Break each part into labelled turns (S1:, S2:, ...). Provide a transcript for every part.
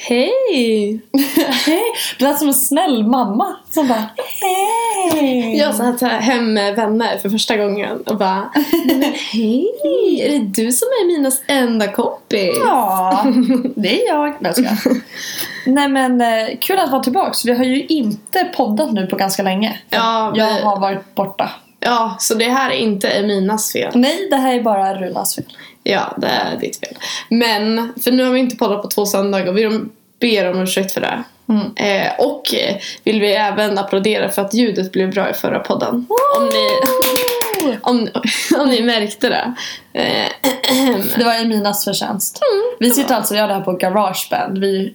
S1: Hej!
S2: Hej! Det lät som en snäll mamma som bara Hej!
S1: Jag satt här hem med vänner för första gången och bara "Nej, Men hej! Är det du som är Minas enda kompis?
S2: Ja, det är jag. Nej, jag skojar. Nej men eh, kul att vara tillbaks. Vi har ju inte poddat nu på ganska länge.
S1: Ja, vi,
S2: Jag har varit borta.
S1: ja, så det här är inte Eminas fel.
S2: Nej, det här är bara Runas fel.
S1: Ja, det är ditt fel. Men, för nu har vi inte poddat på två söndagar och vi ber om ursäkt för det.
S2: Mm.
S1: Eh, och eh, vill vi även applådera för att ljudet blev bra i förra podden. Om ni,
S2: Mm.
S1: om, om ni märkte det. Eh,
S2: Det var Eminas förtjänst. vi sitter alltså och gör det här på Garageband. Vi,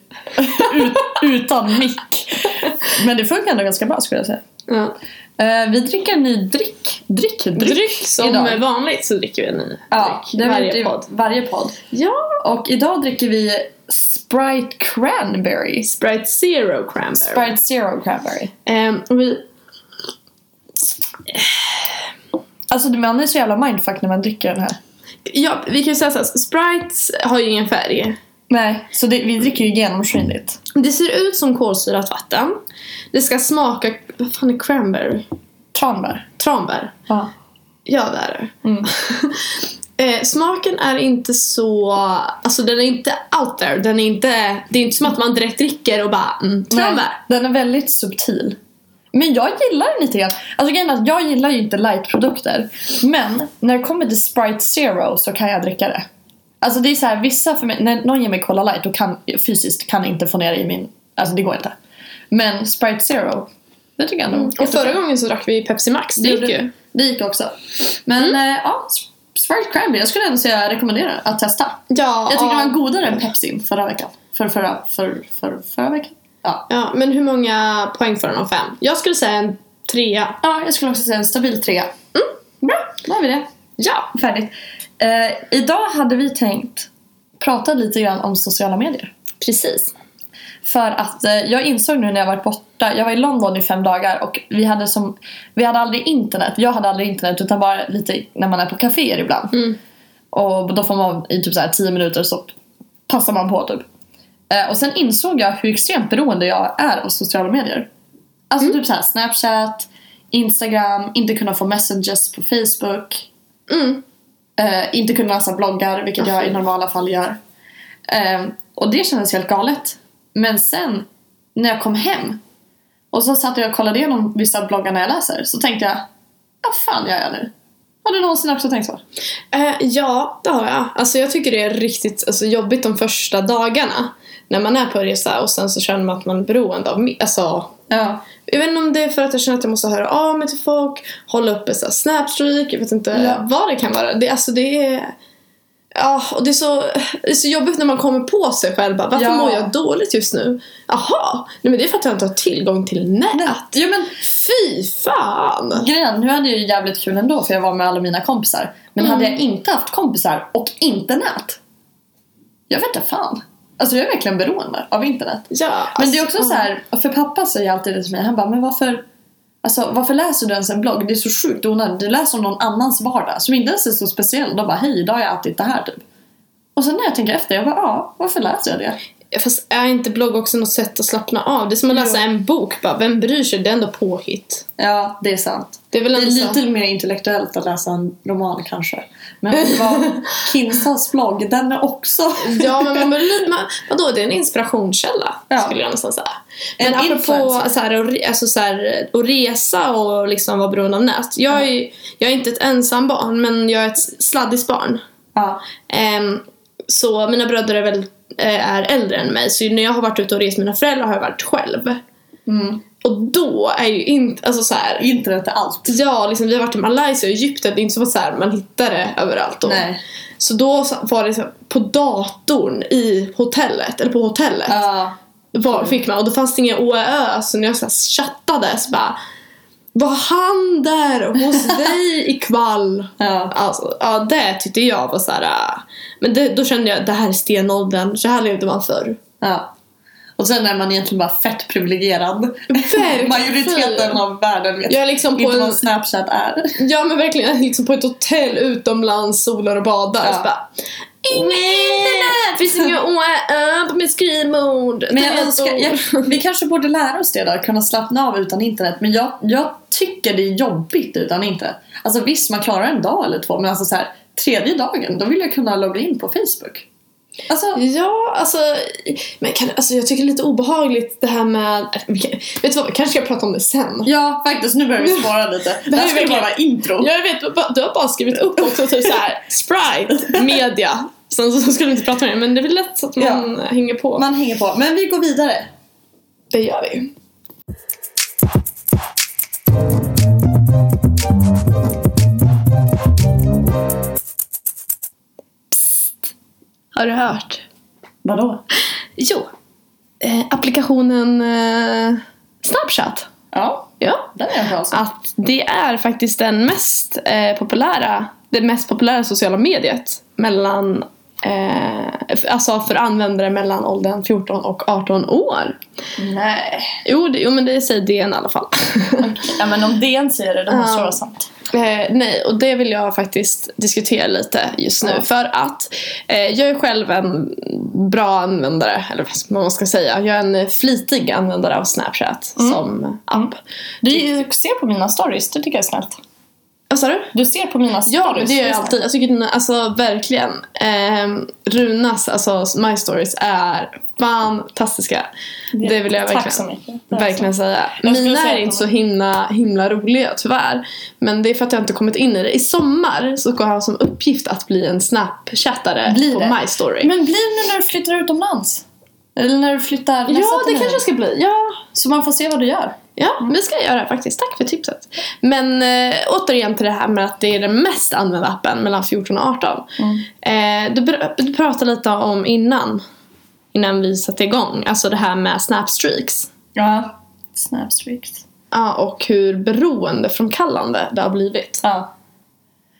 S2: ut, utan mick. Men det funkar ändå ganska bra skulle jag säga.
S1: ja.
S2: Eh, vi dricker en ny dryck. Dryck? Dryck?
S1: Dryck som
S2: idag.
S1: vanligt så dricker vi en ny
S2: Ja,
S1: dryck
S2: det
S1: i
S2: är
S1: varje podd.
S2: Varje podd.
S1: Ja!
S2: Och idag dricker vi Sprite Cranberry.
S1: Sprite Zero Cranberry.
S2: Sprite Zero Cranberry.
S1: Ehm, och vi,
S2: Alltså man är så jävla mindfuck när man dricker den här.
S1: ja, vi kan ju säga såhär, Sprite har ju ingen färg.
S2: Nej, så det, vi dricker ju genomskinligt.
S1: Det ser ut som kolsyrat vatten. Det ska smaka, vad fan är cranberry?
S2: Tranbär.
S1: Tranbär.
S2: Ja.
S1: Ja, det är det.
S2: Mm.
S1: Eh, smaken är inte så... Alltså den är inte out there. Den är inte, det är inte som att man direkt dricker och bara mm, tranbär.
S2: Nej, Den är väldigt subtil. Men jag gillar den lite grann. Alltså grejen är att jag gillar ju inte lightprodukter. Men när det kommer till Sprite Zero så kan jag dricka det. Alltså det är så här, vissa för mig, när någon ger mig Cola Light då kan jag fysiskt kan inte få ner det i min, alltså det går inte. Men Sprite Zero, det tycker jag ändå.
S1: Och förra gången så drack vi Pepsi Max. Det gick ju.
S2: Det gick också. Men
S1: Mm.
S2: eh, ja, Sprite Cranberry, jag skulle ändå säga rekommendera att testa.
S1: Ja,
S2: Jag tyckte
S1: ja.
S2: den var godare än Pepsin förra veckan. För förra, för, för, förra veckan? Ja.
S1: Ja, men hur många poäng får den av fem? Jag skulle säga en trea.
S2: ja, jag skulle också säga en stabil trea. Bra, då har vi det.
S1: Ja!
S2: Färdigt. Eh, idag hade vi tänkt prata lite grann om sociala medier.
S1: Precis.
S2: För att eh, jag insåg nu när jag varit borta, jag var i London i fem dagar och vi hade, som, vi hade aldrig internet. Jag hade aldrig internet utan bara lite när man är på kaféer ibland.
S1: Mm.
S2: Och då får man i typ så här 10 minuter så passar man på typ. Eh, och sen insåg jag hur extremt beroende jag är av sociala medier. Alltså typ så här Snapchat, Instagram, inte kunna få messages på Facebook.
S1: Mm.
S2: Eh, inte kunna läsa bloggar, vilket jag i normala fall gör. Eh, och det kändes helt galet. Men sen, när jag kom hem och så satt jag och kollade igenom vissa bloggarna jag läser så tänkte jag, vad fan gör jag nu? Har du någonsin också tänkt så?
S1: Eh, ja, det har jag. Alltså jag tycker det är riktigt alltså, jobbigt de första dagarna. När man är på resa och sen så känner man att man är beroende av me- alltså,
S2: Ja.
S1: Jag vet inte om det är för att jag känner att jag måste höra av mig till folk, hålla uppe så här snapstreak, jag vet inte
S2: Ja.
S1: vad det kan vara. Det, alltså det är... Ja, och det är, så, det är så jobbigt när man kommer på sig själv. Bara, Varför
S2: Ja.
S1: mår jag dåligt just nu? Jaha, nej men det är för att jag inte har tillgång till nät.
S2: Jo men
S1: Fy fan!
S2: grejen, nu hade jag ju jävligt kul ändå för jag var med alla mina kompisar. Men hade jag inte haft kompisar och internet. Jag vet inte fan. Alltså jag är verkligen beroende av internet.
S1: Ja,
S2: Men
S1: alltså,
S2: det är också så här, för pappa säger alltid det till mig, han bara men varför Alltså varför läser du ens en blogg? Det är så sjukt onödigt. Du läser om någon annans vardag som inte ens är så speciell. De bara hej idag har jag ätit det här typ. Och sen när jag tänker efter, jag bara ja, varför läser jag det?
S1: Fast är inte blogg också något sätt att slappna av? Det är som att läsa en bok. Bara, vem bryr sig? Det är ändå påhitt.
S2: Ja, det är sant.
S1: Det är väl
S2: Det är
S1: ändå så-
S2: lite mer intellektuellt att läsa en roman kanske. Men det var Kinsas blogg, den är också...
S1: Ja, men man, blir- man, vadå, det är en inspirationskälla
S2: Ja.
S1: skulle jag nästan säga.
S2: En
S1: Men apropå
S2: influencer.
S1: så här, att re- alltså, så här, att resa och liksom vara beroende av nät. Jag är, ju- jag är inte ett ensam barn, men jag är ett sladdigt barn.
S2: Ja.
S1: Ehm, så mina bröder är, väl, eh, är äldre än mig, så när jag har varit ute och rest med mina föräldrar har jag varit själv.
S2: Mm.
S1: Och då är ju inte, alltså så här,
S2: Internet är allt.
S1: Ja, liksom, vi har varit i Malaysia och Egypten. Det är inte som att så här, man hittar det överallt. Då.
S2: Nej.
S1: Så då så- var det så här, på datorn i hotellet, eller på hotellet,
S2: Ja.
S1: var, fick man. Och då fanns det ingen OÖ, så när jag så här, chattade så bara Vad händer hos dig ikväll?
S2: ja.
S1: Alltså, ja, det tyckte jag var så här. äh, Men det, då kände jag det här är stenåldern, så här levde man förr.
S2: Ja. Och sen är man egentligen bara fett privilegierad.
S1: Verkligen.
S2: Majoriteten av världen vet
S1: Jag är liksom på
S2: inte
S1: en
S2: vad Snapchat är.
S1: Ja men verkligen, liksom på ett hotell utomlands, solar och badar.
S2: Ja.
S1: Så bara, Internet! Finns inget OÄ på mitt skrivbord.
S2: Men jag önskar, jag, vi kanske borde lära oss det där, kunna slappna av utan internet. Men jag, jag tycker det är jobbigt utan internet. Alltså visst, man klarar en dag eller två, men alltså så här, tredje dagen, då vill jag kunna logga in på Facebook. Alltså,
S1: Ja, alltså, men kan, alltså jag tycker det är lite obehagligt det här med... äh, Vet du vad, vi kanske ska prata om det sen.
S2: ja faktiskt, nu börjar vi spara lite. Det här
S1: är
S2: ska ju
S1: verkligen-
S2: bara vara intro.
S1: Jag vet, du har bara- du har bara skrivit upp också typ såhär Sprite, media. Sen så skulle vi inte prata om det, men det är väl lätt så att man hänger på.
S2: Man hänger på. Men vi går vidare.
S1: det gör vi ju. Har du hört?
S2: Vadå?
S1: Jo. Eh, applikationen eh, Snapchat.
S2: Ja,
S1: Ja.
S2: den är jag bra som.
S1: Att det är faktiskt den mest eh, populära, det mest populära sociala mediet mellan Eh, alltså för användare mellan åldern 14 och 18 år.
S2: Nej.
S1: Jo, det, jo men det säger DN i alla fall.
S2: Ja men om DN säger det, då måste det
S1: Ja.
S2: vara sant.
S1: Eh, nej, och det vill jag faktiskt diskutera lite just nu.
S2: Ja.
S1: För att eh, jag är själv en bra användare, eller vad man ska säga. Jag är en flitig användare av Snapchat
S2: Mm.
S1: som app.
S2: Du ser på mina stories, det tycker jag är snällt.
S1: Vad sa du?
S2: Du ser på mina
S1: Ja, men
S2: stories.
S1: det gör jag
S2: är
S1: alltid. Jag tycker den, alltså verkligen. Ehm, Runas, alltså My Stories, är fantastiska.
S2: snällt.
S1: Det vill jag verkligen.
S2: Tack så mycket. Det är
S1: Verkligen säga.
S2: Alltså. Jag skulle
S1: Mina
S2: säga
S1: är
S2: att
S1: inte så
S2: de-
S1: himla, himla roliga tyvärr. Men det är för att jag inte kommit in i det. I sommar så kommer jag ha som uppgift att bli en snapchattare
S2: Blir
S1: på
S2: det?
S1: My Story.
S2: Men blir det när du flyttar utomlands? Eller när du flyttar nästa
S1: ja, det
S2: termin?
S1: kanske jag ska bli. Ja,
S2: Så man får se vad du gör.
S1: Ja,
S2: Mm.
S1: vi ska jag göra faktiskt. Tack för tipset. Men eh, återigen till det här med att det är den mest använda appen mellan 14 och 18.
S2: Mm.
S1: Eh, du, pr- du pratade lite om innan, innan vi satte igång, alltså det här med snapstreaks.
S2: Ja. Snapstreaks.
S1: Ja, och hur beroendeframkallande det har blivit.
S2: Ja.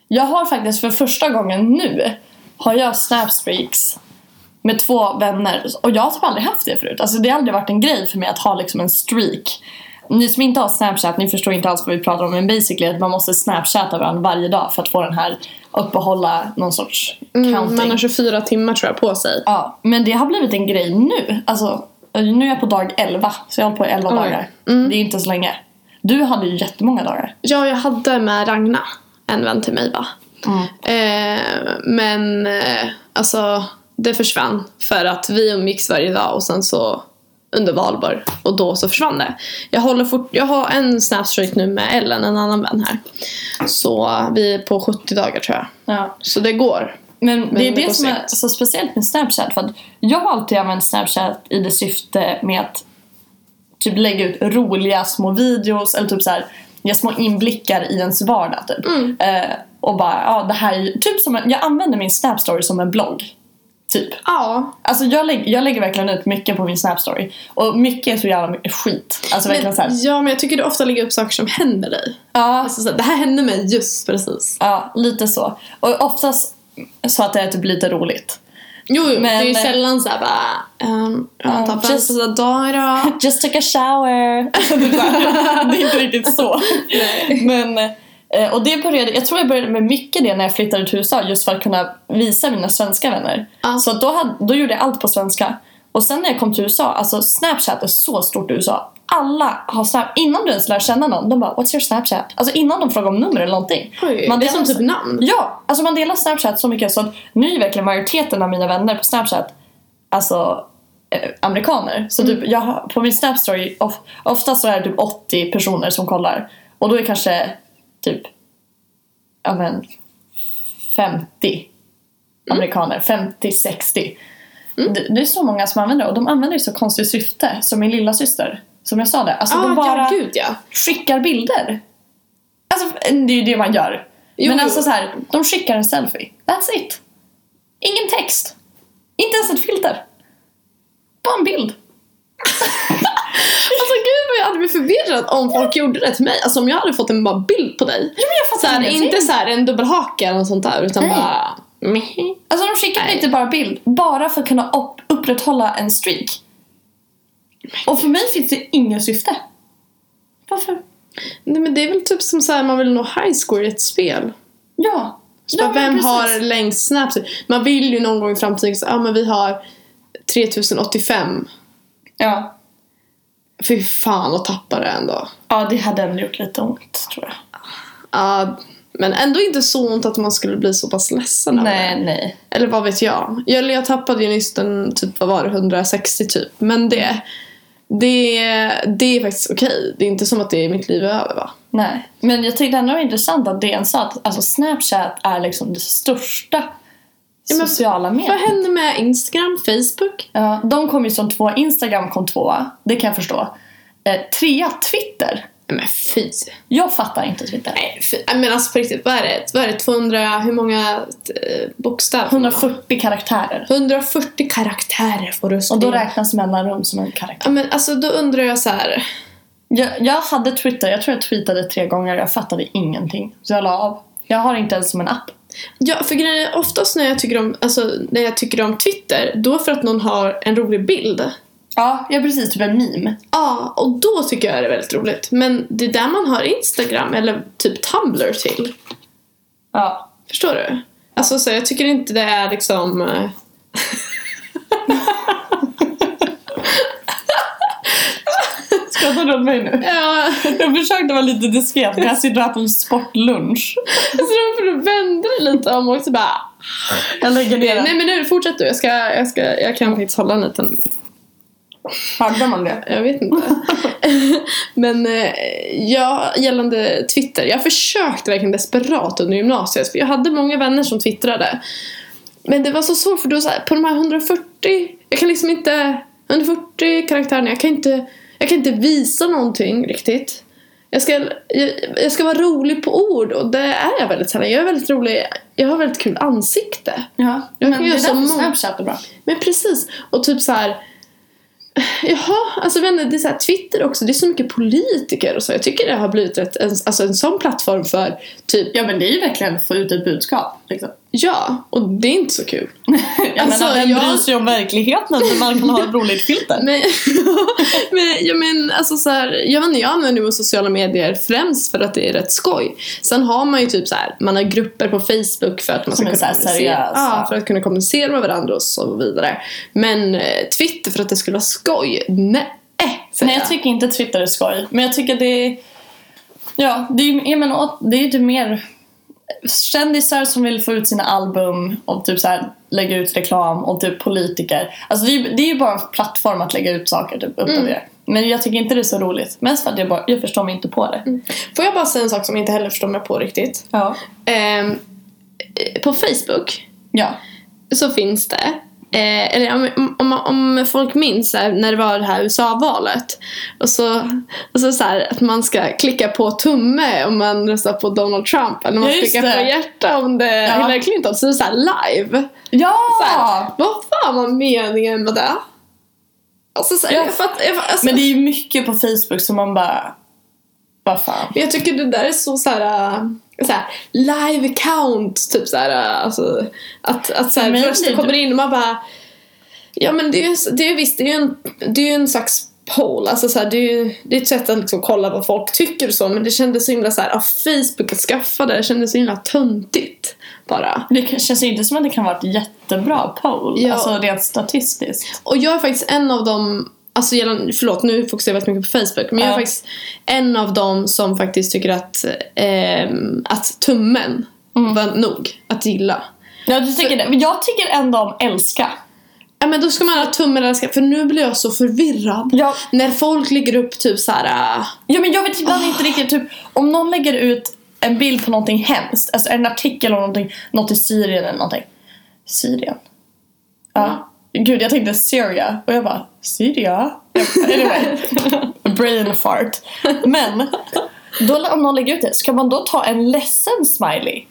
S2: Jag har faktiskt för första gången nu har jag snapstreaks med två vänner. Och jag har typ aldrig haft det förut. Alltså det har aldrig varit en grej för mig att ha liksom en streak. Ni som inte har snapchat, ni förstår inte alls vad vi pratar om. Men basically att man måste snapchatta varandra varje dag för att få den här uppehålla någon sorts
S1: Mm,
S2: counting.
S1: man har 24 timmar tror jag på sig.
S2: Ja, men det har blivit en grej nu. Alltså, nu är jag på dag 11, så jag har hållit på i 11
S1: Oj. Mm.
S2: dagar. Det är inte så länge. Du hade ju jättemånga dagar.
S1: Ja, jag hade med Ragna, en vän till mig va. Eh, men eh, alltså det försvann för att vi umgicks varje dag och sen så under valborg och då så försvann det. Jag, håller fort, jag har en snapstreak nu med Ellen, en annan vän här. Så vi är på 70 dagar tror jag.
S2: Ja.
S1: Så det går.
S2: Men, det är
S1: det
S2: det,
S1: går
S2: som är
S1: segt.
S2: så speciellt med Snapchat. För att jag har alltid använt Snapchat i det syfte med att typ lägga ut roliga små videos eller typ så här, ge små inblickar i ens vardag. Typ.
S1: Mm.
S2: Eh, och bara, ja det här är ju- typ som en, jag använder min Snapstory som en blogg. Typ.
S1: Ja,
S2: Alltså jag, lägg, jag lägger verkligen ut mycket på min Snapstory. Och mycket är så jävla mycket skit. Alltså verkligen
S1: men,
S2: såhär.
S1: ja men jag tycker du ofta lägger upp saker som händer dig.
S2: Ja,
S1: Alltså, så här, det här hände mig just precis.
S2: ja, lite så. Och oftast så att det är typ lite roligt.
S1: Jo, jo
S2: Men-
S1: det är ju sällan såhär bara... Um,
S2: Ja,
S1: jag tappade en
S2: just-
S1: sån här dag idag.
S2: Just took a shower. Alltså, typ så här. det är inte riktigt så. Men, eh, och det började, jag tror jag började med mycket det när jag flyttade till USA just för att kunna visa mina svenska vänner.
S1: Ja.
S2: Så att då, hade, då gjorde jag allt på svenska. Och sen när jag kom till USA, alltså Snapchat är så stort i USA. Alla har Snap, innan du ens lär känna någon, de bara “What's your Snapchat?” Alltså innan de frågar om nummer eller någonting.
S1: Oj,
S2: Man
S1: det är
S2: delar
S1: som typ namn.
S2: Ja, alltså man delar Snapchat så mycket så att nu är verkligen majoriteten av mina vänner på Snapchat alltså eh, amerikaner. Så
S1: Mm.
S2: typ jag har, på min Snapstory of, oftast så är det typ 80 personer som kollar och då är kanske typ ja men 50
S1: Mm.
S2: amerikaner, 50-60. Det, det är så många som använder det och de använder det i så konstigt syfte som min lilla syster som jag sa det. Alltså
S1: ah,
S2: de bara
S1: ja, gud ja.
S2: skickar bilder. Alltså det är ju det man gör.
S1: Jo,
S2: Men
S1: jo.
S2: alltså så här, de skickar en selfie. That's it. Ingen text. Inte ens ett filter. Bara en bild.
S1: Alltså gud vad jag hade blivit förvirrad om folk gjorde det till mig. Alltså om jag hade fått en bara bild på dig.
S2: Ja, men jag
S1: Så
S2: fattar
S1: här,
S2: ingenting.
S1: inte så här en dubbelhaka eller något sånt där utan
S2: Nej.
S1: bara... Meh.
S2: Alltså de skickar inte bara bild. Bara för att kunna upp, upprätthålla en streak. Och för mig finns det inget syfte. Varför?
S1: Nej men det är väl typ som så här man vill nå high score i ett spel.
S2: Ja.
S1: Så
S2: Ja,
S1: bara,
S2: men
S1: vem
S2: precis.
S1: har längst Snapchat? Man vill ju någon gång i framtiden säga ah, men vi har 3085.
S2: Ja.
S1: Fy fan att tappa det ändå.
S2: ja, det hade ändå gjort lite ont tror jag.
S1: Ja, men ändå inte så ont att man skulle bli så pass ledsen över det.
S2: Nej, nej.
S1: Eller vad vet jag. Jag, jag tappade ju nyss den, typ, vad var det, 160 typ. Men det,
S2: Mm.
S1: det, det är faktiskt okej. Det är inte som att det är mitt liv är över va?
S2: Nej, men jag tyckte ändå det var intressant att DN sa att alltså Snapchat är liksom det största
S1: Ja, men
S2: sociala
S1: Vad
S2: mediet.
S1: hände med Instagram, Facebook?
S2: Ja, de kom ju som två Instagram kom tvåa, det kan jag förstå. Eh, trea Twitter.
S1: Nej men fy.
S2: Jag fattar inte Twitter.
S1: Nej fy. Nej, Men alltså på riktigt, vad är det? Vad är det 200, hur många eh, bokstäver?
S2: 140 karaktärer.
S1: 140 karaktärer får du
S2: Och
S1: skriva.
S2: då räknas mellanrum som en karaktär.
S1: Ja, men alltså då undrar jag så här.
S2: Jag, jag hade Twitter, jag tror jag tweetade tre gånger, jag fattade ingenting. Så jag la av. Jag har inte ens som en app.
S1: Ja, för grejen är oftast när jag, tycker om, alltså, när jag tycker om Twitter, då för att någon har en rolig bild.
S2: Ja, jag precis, typ en meme.
S1: Ja, och då tycker jag det är väldigt roligt. Men det är där man har Instagram eller typ Tumblr till.
S2: Ja.
S1: Förstår du? Alltså så jag tycker inte det är liksom... eh,
S2: Skrattar du åt mig nu?
S1: Ja,
S2: Jag försökte vara lite diskret men jag sitter och äter en sportlunch.
S1: så då får du vända dig lite om och så bara...
S2: Jag lägger ner den.
S1: Nej men nu, fortsätt du. Jag, ska, jag, ska, jag kan faktiskt hålla en liten...
S2: Hörde man det?
S1: Jag vet inte. men eh, jag, gällande Twitter. Jag försökte verkligen desperat under gymnasiet. För jag hade många vänner som twittrade. Men det var så svårt för då så här, på de här 140. Jag kan liksom inte. 140 karaktärerna. Jag kan inte, jag kan inte visa någonting riktigt. Jag ska, jag, jag ska vara rolig på ord och det är jag väldigt sällan. Jag är väldigt rolig. Jag har väldigt kul ansikte.
S2: Ja.
S1: Jag
S2: Men
S1: kan
S2: det är
S1: göra så
S2: därför
S1: många-
S2: Snapchat är bra.
S1: Men precis. Och typ så här. Jaha, alltså vänner, det är så här, Twitter också, det är så mycket politiker och så. Jag tycker det har blivit ett, en, alltså en sån plattform för typ,
S2: Ja men det är ju verkligen att få ut ett budskap. Liksom.
S1: ja, och det är inte så kul.
S2: Jag
S1: Alltså,
S2: menar, vem
S1: jag-
S2: bryr sig om verkligheten när man kan ha ett roligt filter?
S1: Men, men, ja, men alltså så här, jag vet inte, jag använder ju sociala medier främst för att det är rätt skoj. Sen har man ju typ så här, man har grupper på Facebook för att man ska
S2: Som är
S1: kunna
S2: så här
S1: kommunicera.
S2: seriösa.
S1: Ja, för att kunna kommunicera med varandra och så vidare. Men eh, Twitter för att det skulle vara skoj? Nej, säger
S2: Nej Eh, jag tycker inte Twitter är skoj. Men jag tycker det är... Ja, det är ju jag menar, åt- det är ju inte mer kändisar som vill få ut sina album och typ så här lägga ut reklam och typ politiker. Alltså det är, ju- det är ju bara en plattform att lägga ut saker typ uppdatera. Men jag tycker inte det är så roligt. Mest för att jag, bara, jag förstår mig inte på det.
S1: Får jag bara säga en sak som jag inte heller förstår mig på riktigt?
S2: Ja.
S1: Ehm, eh, på Facebook
S2: Ja.
S1: så finns det Eh, eller om, om, om folk minns så här, när det var det här USA-valet och så, och så, så här, att man ska klicka på tumme om man röstar på Donald Trump eller man
S2: Ja,
S1: ska
S2: just
S1: klicka
S2: det.
S1: på hjärta om det är
S2: Ja.
S1: Hillary Clinton så är det så här live.
S2: Ja!
S1: Så här, vad fan var meningen med det? Alltså, så här,
S2: Ja.
S1: jag fattar, jag, fattar- alltså,
S2: Men det är ju mycket på Facebook som man bara... Vad fan.
S1: Men jag tycker det där är så så här. äh, Så här, live count, typ så här, äh, alltså, att, att så här,
S2: För mig
S1: röster
S2: blir det-
S1: kommer in och man bara Ja men det är ju det är, visst, det är ju en, det är ju en slags poll, alltså så här, det, är ju, det är ett sätt att liksom kolla vad folk tycker och så men det kändes så himla så här, ah, Facebook att skaffa det, det kändes så himla töntigt bara.
S2: Det kan- känns ju inte som att det kan vara ett jättebra poll.
S1: Ja.
S2: Alltså rent statistiskt.
S1: Och jag är faktiskt en av dem, alltså gällande, förlåt nu fokuserar jag väldigt mycket på Facebook, men jag är
S2: Ja.
S1: faktiskt en av dem som faktiskt tycker att, ehm, att tummen
S2: Mm.
S1: var nog att gilla.
S2: Ja, du tycker det. Men jag tycker ändå om älska.
S1: Ja men då ska man ha tummen eller ska, för nu blir jag så förvirrad.
S2: Ja.
S1: När folk lägger upp typ så här. äh,
S2: Ja, men jag vet ibland inte riktigt. Typ, om någon lägger ut en bild på någonting hemskt. Alltså en artikel om någonting. Något i Syrien eller någonting. Syrien? Ja. Gud, jag tänkte Syria. Och jag bara, Syria? Anyway. Brain fart. Men, då, om någon lägger ut det, ska man då ta en ledsen smiley?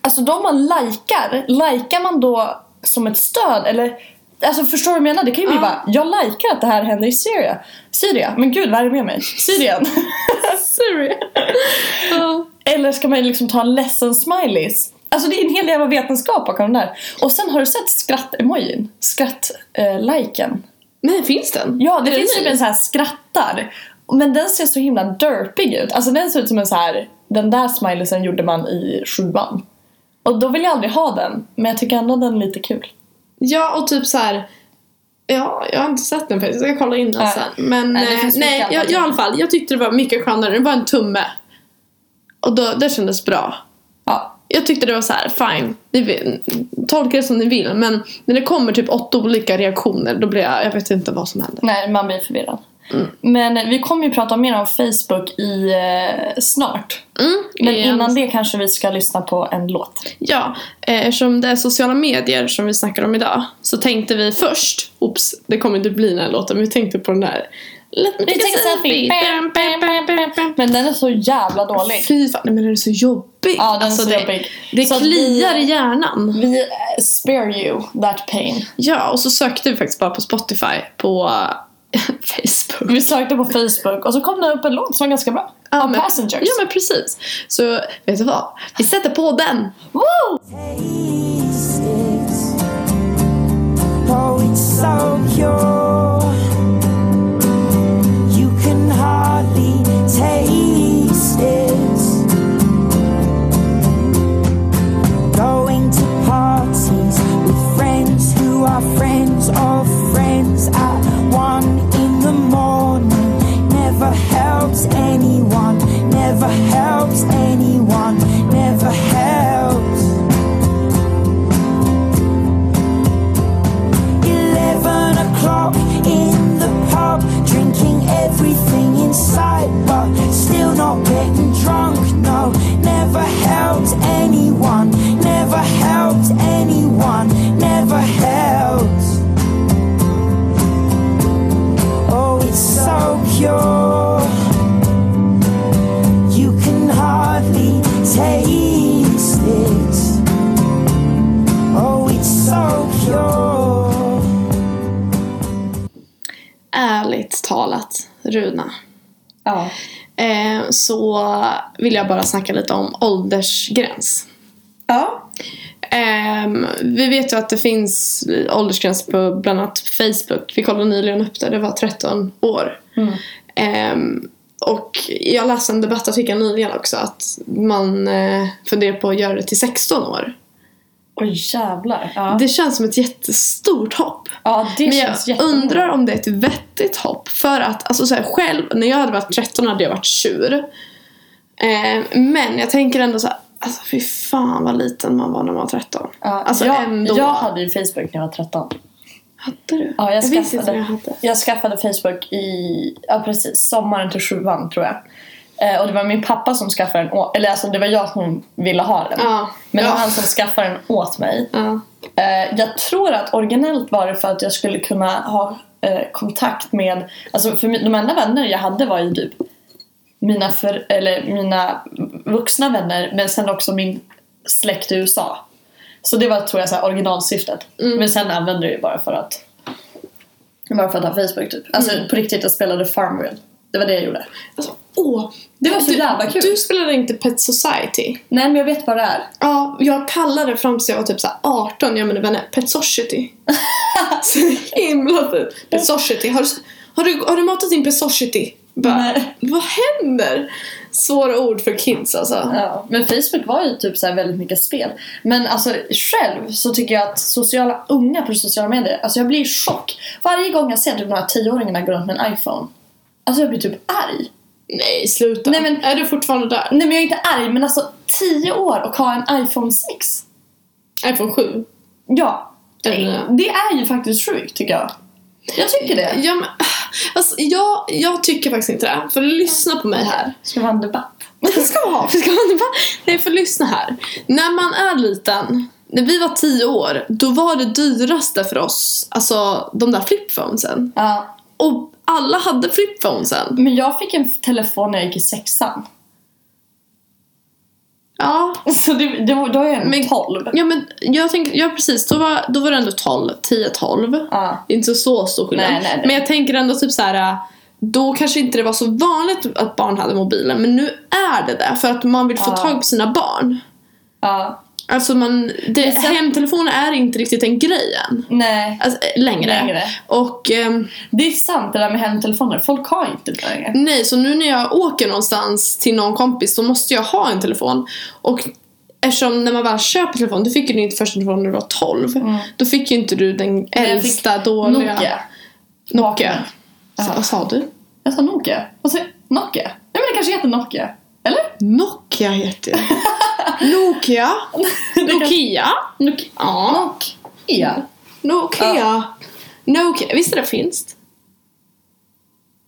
S2: Alltså de man likar, likar man då som ett stöd eller? Alltså förstår du vad jag menar? Det kan ju bli
S1: Ja.
S2: bara, jag likar att det här händer i Syria. Syria, men gud vad är det med mig? Syrien.
S1: Sorry. Ja.
S2: eller ska man liksom ta en ledsen smileys? Alltså det är en hel jävla vetenskap bakom den där. Och sen har du sett skratt-emojin? Skratt-liken.
S1: Nej finns den?
S2: Ja, det
S1: Är
S2: finns
S1: ny?
S2: typ en så här skrattar. Men den ser så himla derpig ut. Alltså den ser ut som en så här. Den där smileysen gjorde man i sjuan. Och då vill jag aldrig ha den, men jag tycker ändå den är lite kul.
S1: Ja, och typ så här. Ja, jag har inte sett den faktiskt. Jag ska kolla in den
S2: Nej.
S1: sen. Men
S2: Nej, det
S1: nej,
S2: finns
S1: nej
S2: mycket
S1: jag,
S2: annat.
S1: jag, i alla fall. Jag tyckte det var mycket skönare. Det var en tumme. Och då, det kändes bra.
S2: Ja.
S1: Jag tyckte det var så här, fine. Ni vill, tolka det som ni vill. Men när det kommer typ åtta olika reaktioner då blir jag, jag vet inte vad som händer.
S2: Nej, man blir förvirrad. Men vi kommer ju prata mer om Facebook i eh, snart.
S1: Mm,
S2: Men
S1: igen.
S2: innan det kanske vi ska lyssna på en låt.
S1: Ja, eh, eftersom det är sociala medier som vi snackar om idag så tänkte vi först, oops, det kommer inte bli den här låten, men vi tänkte på den där Let me
S2: Vi
S1: take a
S2: tänker selfie.
S1: selfie!
S2: Bam, bam, bam, bam, bam. Men den är så jävla dålig.
S1: Fy fan, nej, men den är så jobbig! Alltså,
S2: Ja, den är så
S1: det,
S2: jobbig.
S1: Det
S2: Så att
S1: kliar
S2: vi-
S1: i hjärnan.
S2: Vi eh, spare you that pain.
S1: Ja, och så sökte vi faktiskt bara på Spotify på eh, Facebook.
S2: Vi sökte på Facebook och så kom det upp en låt som var ganska bra.
S1: Ja,
S2: Av
S1: men-
S2: Passengers.
S1: Ja, men precis. Så vet du vad? Vi sätter på den!
S2: Woo!
S3: Taste it. Oh, it's so pure. You can hardly taste it. Going to parties with friends who are friends of friends at one in the morning. Never helps anyone, never helps anyone, never helps. 11 o'clock in the pub, drinking everything in sight, but still not getting drunk. No, never helped anyone, never helped anyone, never helped. Oh, it's so pure, you can hardly taste it. Oh, it's so pure.
S1: Ärligt talat, Runa.
S2: Ja.
S1: Eh, så vill jag bara snacka lite om åldersgräns.
S2: Ja.
S1: Ehm, vi vet ju att det finns åldersgräns på bland annat Facebook. Vi kollade nyligen upp det, det var 13 år.
S2: Mm.
S1: Ehm, och jag läste en debattartikel nyligen också att man eh, funderar på att göra det till 16 år.
S2: Oj jävlar. Ja, det,
S1: Det känns som ett jättestort hopp.
S2: ja, det
S1: Men
S2: känns
S1: jag
S2: jätte...
S1: undrar om det är ett vettigt hopp. För att alltså så här, själv, när jag hade varit 13 hade jag varit tjur. Eh, men jag tänker ändå så här, alltså fy fan vad liten man var när man var 13.
S2: Ja,
S1: alltså
S2: jag,
S1: ändå.
S2: jag hade ju Facebook när jag var 13.
S1: Hade du?
S2: Ja, jag,
S1: jag visste inte
S2: skaffade,
S1: vad jag
S2: jag,
S1: hade.
S2: skaffade Facebook i, ja precis, sommaren till sjuan tror jag. Eh, och det var min pappa som skaffade den åt, eller alltså det var jag som ville ha den.
S1: Ja.
S2: Men det
S1: ja.
S2: var han som skaffade den åt mig.
S1: Ja.
S2: Eh, jag tror att originellt var det för att jag skulle kunna ha eh, kontakt med, alltså för min, de enda vänner jag hade var ju typ mina, för, eller mina vuxna vänner men sen också min släkt i USA. Så det var tror jag så här, originalsyftet. Men sen använde jag det ju bara för att bara för att ha Facebook typ. Alltså på riktigt, jag spelade Farmville. Det var det jag gjorde.
S1: Alltså, åh.
S2: Det var så jävla kul.
S1: Du spelade inte Pet Society.
S2: Nej men jag vet vad det är.
S1: Ja, jag kallade det fram tills jag var typ så här 18, jag och mina vänner, Pet Society. så himla fint. Pet Society, har du, har du, har du matat in Pet Society? Bara,
S2: Nej.
S1: Vad händer? Svåra ord för kids alltså.
S2: Ja, men Facebook var ju typ så här väldigt mycket spel. Men alltså själv så tycker jag att sociala unga på sociala medier, alltså jag blir i chock. Varje gång jag ser typ några tioåringarna gå runt med en iPhone. Alltså jag blir typ arg.
S1: Nej, sluta.
S2: Nej, men-
S1: Är du fortfarande där?
S2: Nej men jag är inte arg men alltså 10 år och ha en iPhone 6.
S1: iPhone 7?
S2: Ja.
S1: Eller-
S2: Det är ju faktiskt sjukt tycker jag. Jag tycker det.
S1: Ja, men, alltså, jag, jag tycker faktiskt inte det. För lyssna på mig här.
S2: Ska vi ha en debatt?
S1: Det ska vi ha. Vi ska ha en debatt. Nej, för lyssna här. När man är liten, när vi var tio år, då var det dyraste för oss, alltså de där flippphonesen.
S2: Ja.
S1: Och alla hade flippphonesen.
S2: Men jag fick en telefon när jag gick i sexan.
S1: Ja.
S2: Så det, det, var- då är jag
S1: Men-
S2: men, 12.
S1: Ja men jag tänker, ja precis, då var, då var det ändå 12, 10-12.
S2: Ja.
S1: Det är inte så stor skillnad.
S2: Nej, nej, nej.
S1: Men jag tänker ändå typ så här. då kanske inte det var så vanligt att barn hade mobilen, men nu är det det för att man vill få
S2: Ja.
S1: tag på sina barn.
S2: Ja.
S1: Alltså man, det,
S2: sen-
S1: hemtelefonen är inte riktigt en grej än.
S2: Nej.
S1: Alltså, eh, längre.
S2: Längre.
S1: Och ehm,
S2: Det är sant det där med hemtelefoner. Folk har inte det längre.
S1: nej, så nu när jag åker någonstans till någon kompis så måste jag ha en telefon. Och Eftersom när man väl köper telefon, du fick ju din första telefon när du var 12. Då Mm. fick ju inte du den
S2: jag fick
S1: äldsta dåliga.
S2: Nokia.
S1: Nokia. Så,
S2: Ja.
S1: vad sa du?
S2: Jag sa Nokia. Vad säger Nokia? Nej men det kanske heter Nokia. Eller?
S1: Nokia heter det. Nokia. Nokia. Nokia. Ja.
S2: Nokia.
S1: Nokia. Nokia. Visst är det finskt?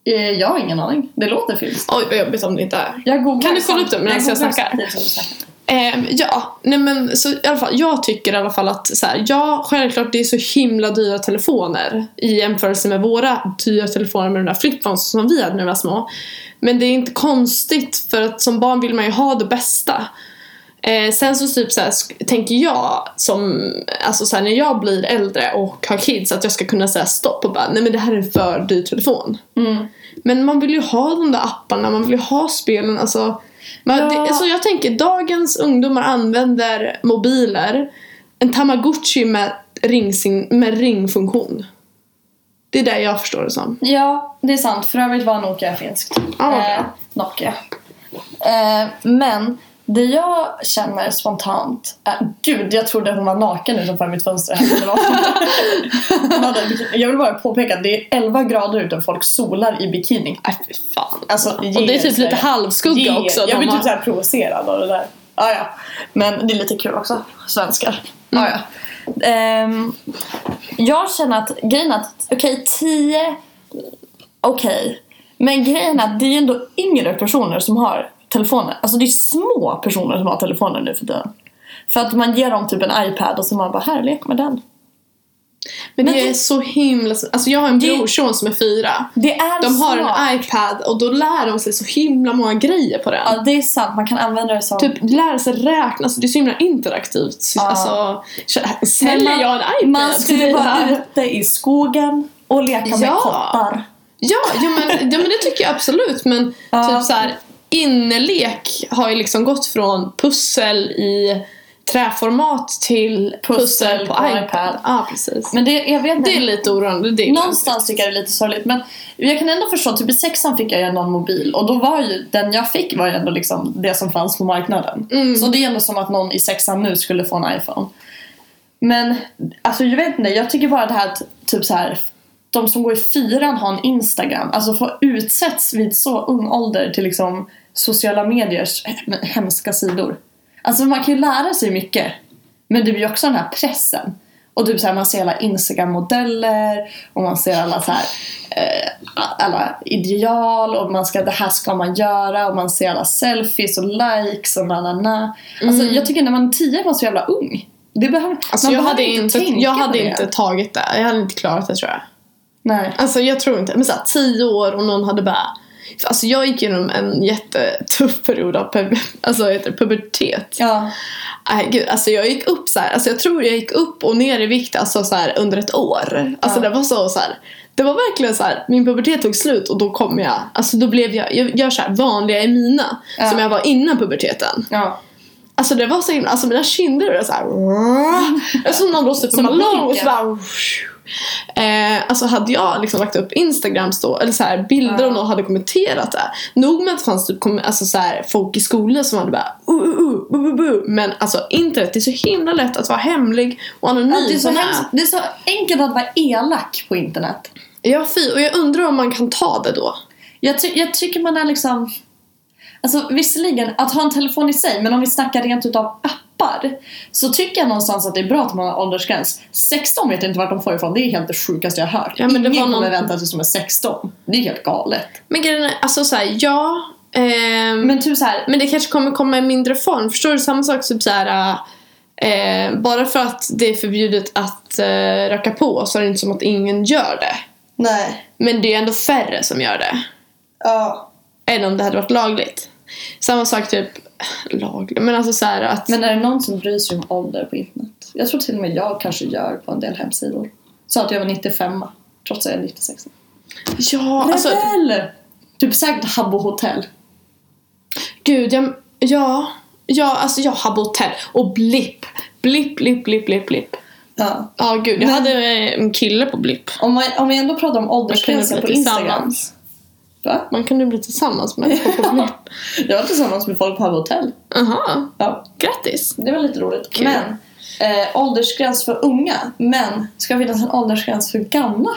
S2: Eh, Jag har ingen aning. Det låter finskt.
S1: Oj, vad jobbigt om det inte är.
S2: Jag googlar
S1: Kan du kolla upp det medan jag
S2: googlar
S1: snackar?
S2: samtidigt som du snackar.
S1: Ehm, ja, nej men så i alla fall, jag tycker i alla fall att så här, ja, självklart det är så himla dyra telefoner i jämförelse med våra dyra telefoner med de där flipphones som vi hade när vi var små. Men det är inte konstigt för att som barn vill man ju ha det bästa. Eh, sen så typ så här, sk- tänker jag som, alltså så här, när jag blir äldre och har kids att jag ska kunna säga stopp och bara nej men det här är en för dyr telefon.
S2: Mm.
S1: Men man vill ju ha de där apparna, man vill ju ha spelen. Alltså, man,
S2: Ja.
S1: det, alltså jag tänker dagens ungdomar använder mobiler, en tamagotchi med, ringsin, med ringfunktion. Det är det jag förstår det som.
S2: Ja, det är sant. För övrigt var Nokia finskt.
S1: Ja, vad bra.
S2: Eh, Nokia. Eh, men det jag känner spontant är... Gud, jag trodde hon var naken utanför mitt fönster. här. Det var- Hon hade en bikini. jag vill bara påpeka att det är 11 grader ute och folk solar i bikini.
S1: Nej Äh, fy fan.
S2: Alltså,
S1: Och det är
S2: ge
S1: typ
S2: sig.
S1: lite halvskugga
S2: Ge-
S1: också.
S2: Jag
S1: de
S2: blir
S1: har-
S2: typ såhär provocerad av det där. Ah, ja. Men det är lite kul också. Svenskar. Ah, ja. Ehm, jag känner att grejen är att okej, 10 Okej. Men grejen är att det är ändå yngre personer som har telefoner. Alltså det är små personer som har telefoner nu för tiden. För att man ger dem typ en iPad och så man bara här, lek med den.
S1: men det
S2: men
S1: är
S2: det-
S1: så himla... Alltså jag har en
S2: Det-
S1: brorson som är fyra.
S2: Det är
S1: De har
S2: smart.
S1: en iPad och då lär de sig så himla många grejer på den.
S2: Ja, det är sant. Man kan använda det som...
S1: Typ lär sig räkna, alltså det är så himla interaktivt. Så-
S2: Ja.
S1: Alltså, kä- säljer
S2: man-
S1: jag en iPad
S2: Man skulle
S1: till dig
S2: vara
S1: här?
S2: ute i skogen och leka med
S1: Ja.
S2: kottar.
S1: Ja, ja, men, ja men det tycker jag absolut. Men
S2: Ja.
S1: typ så här, innelek har ju liksom gått från pussel i träformat till pussel, på, iPad. Ja, precis.
S2: Men det, jag vet inte.
S1: det är lite oroande. Det är
S2: Någonstans tycker jag det är lite sorgligt. Men jag kan ändå förstå, typ i sexan fick jag ju ändå en mobil. Och då var ju, den jag fick var ju ändå liksom det som fanns på marknaden.
S1: Mm.
S2: Så det är ändå som att någon i sexan nu skulle få en iPhone. Men, alltså jag vet inte, jag tycker bara det här att typ så här. De som går i fyran har en Instagram. Alltså få utsätts vid så ung ålder till liksom sociala mediers he- hemska sidor. Alltså man kan ju lära sig mycket. Men det blir ju också den här pressen. Och typ så här, man ser alla Instagram-modeller och man ser alla så här, eh, alla ideal och man ska, det här ska man göra och man ser alla selfies och likes och na na na. Alltså jag tycker när man är tio är man så jävla ung. Det behöver,
S1: Mm. Alltså,
S2: man
S1: jag hade
S2: behöver
S1: inte,
S2: tänka
S1: jag
S2: på
S1: hade
S2: det.
S1: inte tagit det. Jag hade inte klarat det tror jag.
S2: Nej.
S1: Alltså jag tror inte, men såhär tio år och någon hade bara Alltså jag gick igenom en jättetuff period av pu- alltså, vad heter det, pubertet.
S2: Ja.
S1: Nej gud, alltså jag gick upp så här. Alltså jag tror jag gick upp och ner i vikt alltså så här, under ett år. Alltså
S2: Ja.
S1: det var så, så här. Det var verkligen så här. min pubertet tog slut och då kom jag, alltså då blev jag, jag gör så här vanliga Emina
S2: Ja.
S1: som jag var innan puberteten.
S2: ja.
S1: Alltså det var så himla, alltså mina kinder blev så här. Det är som någon blåste upp en
S2: Som
S1: ballong och så
S2: blinkar.
S1: bara Eh, alltså hade jag liksom lagt upp instagrams då, eller så här bilder
S2: Ja.
S1: och någon hade kommenterat det. Nog med att det fanns typ kom, alltså så här, folk i skolan som hade bara uh, uh, uh, bu, bu, bu. Men alltså internet, det är så himla lätt att vara hemlig och anonym.
S2: det, är så
S1: på nät.
S2: hemskt, det är så enkelt att vara elak på internet.
S1: Ja fy, och jag undrar om man kan ta det då.
S2: Jag, ty- jag tycker man är liksom... Alltså visserligen, att ha en telefon i sig, men om vi snackar rent utav appar så tycker jag någonstans att det är bra att man har åldersgräns. 16 vet jag inte vart de får ifrån, det är helt det sjukaste jag har hört.
S1: Ja, men det
S2: Ingen
S1: var någon-
S2: kommer vänta tills de är 16. Det är helt galet.
S1: Men grejen är, alltså så här, ja. ehm,
S2: Men typ så här,
S1: Men det kanske kommer komma i mindre form. Förstår du? Samma sak typ såhär... Eh, bara för att det är förbjudet att eh, röka på så är det inte som att ingen gör det.
S2: nej,
S1: Men det är ändå färre som gör det.
S2: ja.
S1: Än om det hade varit lagligt. Samma sak typ... Lagligt? Men alltså såhär att...
S2: Men är det någon som bryr sig om ålder på internet? Jag tror till och med jag kanske gör på en del hemsidor. Så att jag var 95 trots att jag är 96.
S1: ja, alltså...
S2: Rebell! Typ säkert Habbo hotell.
S1: Gud, jag... Ja. Ja, alltså jag har bott här. Och blipp. Blipp, blipp, blipp, blipp, blipp.
S2: Ja.
S1: Ja, gud. Jag
S2: Men-
S1: hade eh, en kille på blipp.
S2: Om, man, om vi ändå pratar om åldersgränsen
S1: Man
S2: på
S1: kan ju bli
S2: Instagram.
S1: tillsammans.
S2: Va?
S1: Man kunde bli tillsammans med en på blipp.
S2: Jag var tillsammans med folk på Habbo hotell.
S1: Aha.
S2: Ja.
S1: Grattis!
S2: Det var lite roligt.
S1: Kul.
S2: Men eh, åldersgräns för unga. Men ska det finnas en åldersgräns för gamla?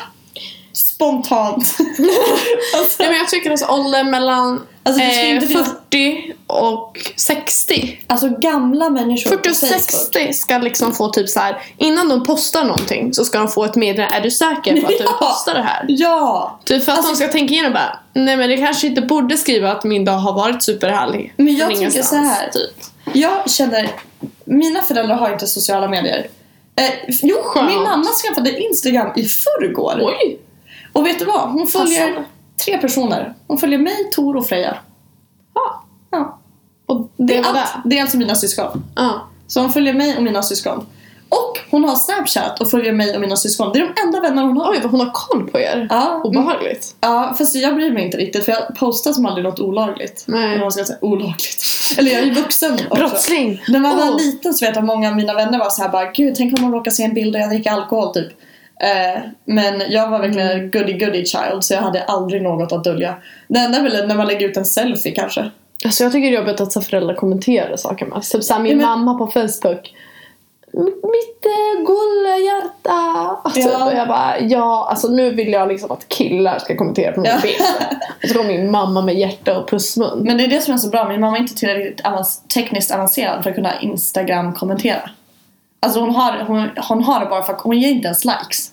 S2: Spontant. alltså,
S1: Nej, men jag tycker alltså ålder mellan
S2: Alltså, det ska
S1: eh,
S2: inte finnas-
S1: 40 och 60.
S2: alltså gamla människor
S1: 40 och
S2: på Facebook.
S1: 60 ska liksom få typ så här innan de postar någonting så ska de få ett meddelande. Är du säker på att du
S2: Ja. Alltså-
S1: postar det här?
S2: Ja!
S1: Typ för att de ska tänka igenom bara, nej men det kanske inte borde skriva att min dag har varit superhärlig.
S2: Men jag
S1: Från
S2: tänker så
S1: ingenstans,
S2: här.
S1: Typ.
S2: Jag känner, mina föräldrar har inte sociala medier. Eh, jo,
S1: Skönt.
S2: min mamma skaffade Instagram i förrgår.
S1: Oj!
S2: Och vet du vad? Hon följer
S1: Passande.
S2: tre personer. Hon följer mig, Tor och Freja.
S1: Ja.
S2: Ja.
S1: Och det,
S2: Det, är
S1: var det.
S2: allt, det är alltså mina syskon.
S1: Ja.
S2: Så hon följer mig och mina syskon. Och hon har Snapchat och följer mig och mina syskon. Det är de enda vänner hon har.
S1: Oj vad hon har koll på er.
S2: Ja,
S1: Obehagligt.
S2: ja, fast jag bryr mig inte riktigt för jag postar som aldrig något olagligt.
S1: Nej.
S2: Eller vad man ska säga, olagligt. Eller jag är ju vuxen också.
S1: Brottsling!
S2: När man var
S1: Åh.
S2: liten så vet jag att många av mina vänner var så här bara Gud, tänk om de råkar se en bild där jag dricker alkohol typ. Eh, men jag var verkligen goody goody child så jag hade aldrig något att dölja. Det enda är väl när man lägger ut en selfie kanske.
S1: Alltså jag tycker det är jobbigt att så föräldrar kommenterar saker med. Typ såhär min
S2: Ja, men-
S1: mamma på Facebook. "M- Mitt eh, gullhjärta! Och Typ,
S2: Ja.
S1: och jag bara ja, alltså nu vill jag liksom att killar ska kommentera på min
S2: Ja.
S1: bild. Och så kommer min mamma med hjärta och pussmun.
S2: Men det är det som är så bra, min mamma är inte tillräckligt avans- tekniskt avancerad för att kunna Instagram kommentera. Alltså hon har, hon, hon har det bara för att hon ger inte ens likes.